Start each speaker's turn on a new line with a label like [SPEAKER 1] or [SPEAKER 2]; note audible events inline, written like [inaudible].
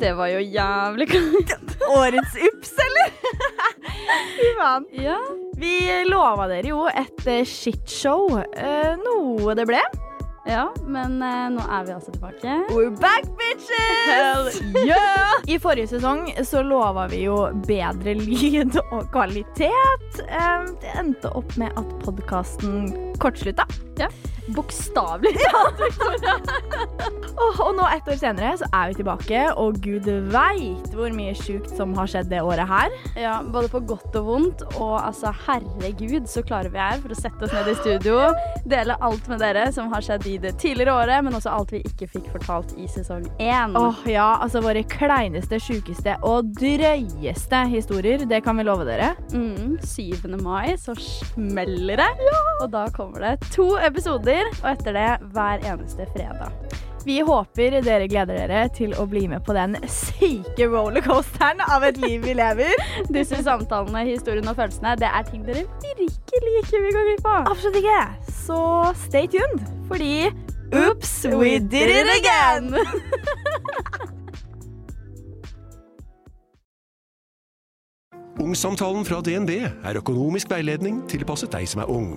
[SPEAKER 1] Det var jo jævlig godt.
[SPEAKER 2] Årets ups, eller? [laughs] Fy faen.
[SPEAKER 1] Ja.
[SPEAKER 2] Vi lova dere jo et eh, shitshow. Eh, Noe det ble.
[SPEAKER 1] ja, men eh, nå er vi altså tilbake.
[SPEAKER 2] We're back, bitches! yeah! I forrige sesong så lova vi jo bedre lyd og kvalitet. Eh, Det endte opp med at podkasten kortslutta.
[SPEAKER 1] Ja. Bokstavelig.
[SPEAKER 2] Og, og nå, ett år senere, så er vi tilbake, og gud veit hvor mye sjukt som har skjedd det året her.
[SPEAKER 1] [laughs] Ja, både på godt og vondt. Og altså, herregud, så klare vi er for å sette oss ned i studio, dele alt med dere som har skjedd i det tidligere året, men også alt vi ikke fikk fortalt i sesong én.
[SPEAKER 2] Åh ja, altså våre kleineste, sjukeste og drøyeste historier. Det kan vi love dere.
[SPEAKER 1] Mm, 7. mai så smeller det, og da kommer det to episoder, og etter det hver eneste fredag.
[SPEAKER 2] Vi håper dere gleder dere til å bli med på den syke rollercoasteren av et liv vi lever.
[SPEAKER 1] Disse samtalene, historien og følelsene, det er ting dere virkelig ikke vil gå glipp av.
[SPEAKER 2] [laughs] Absolutt ikke. Så stay tuned, fordi Oops, we did it again!
[SPEAKER 3] Ungsamtalen fra DNB er økonomisk veiledning tilpasset deg som er ung.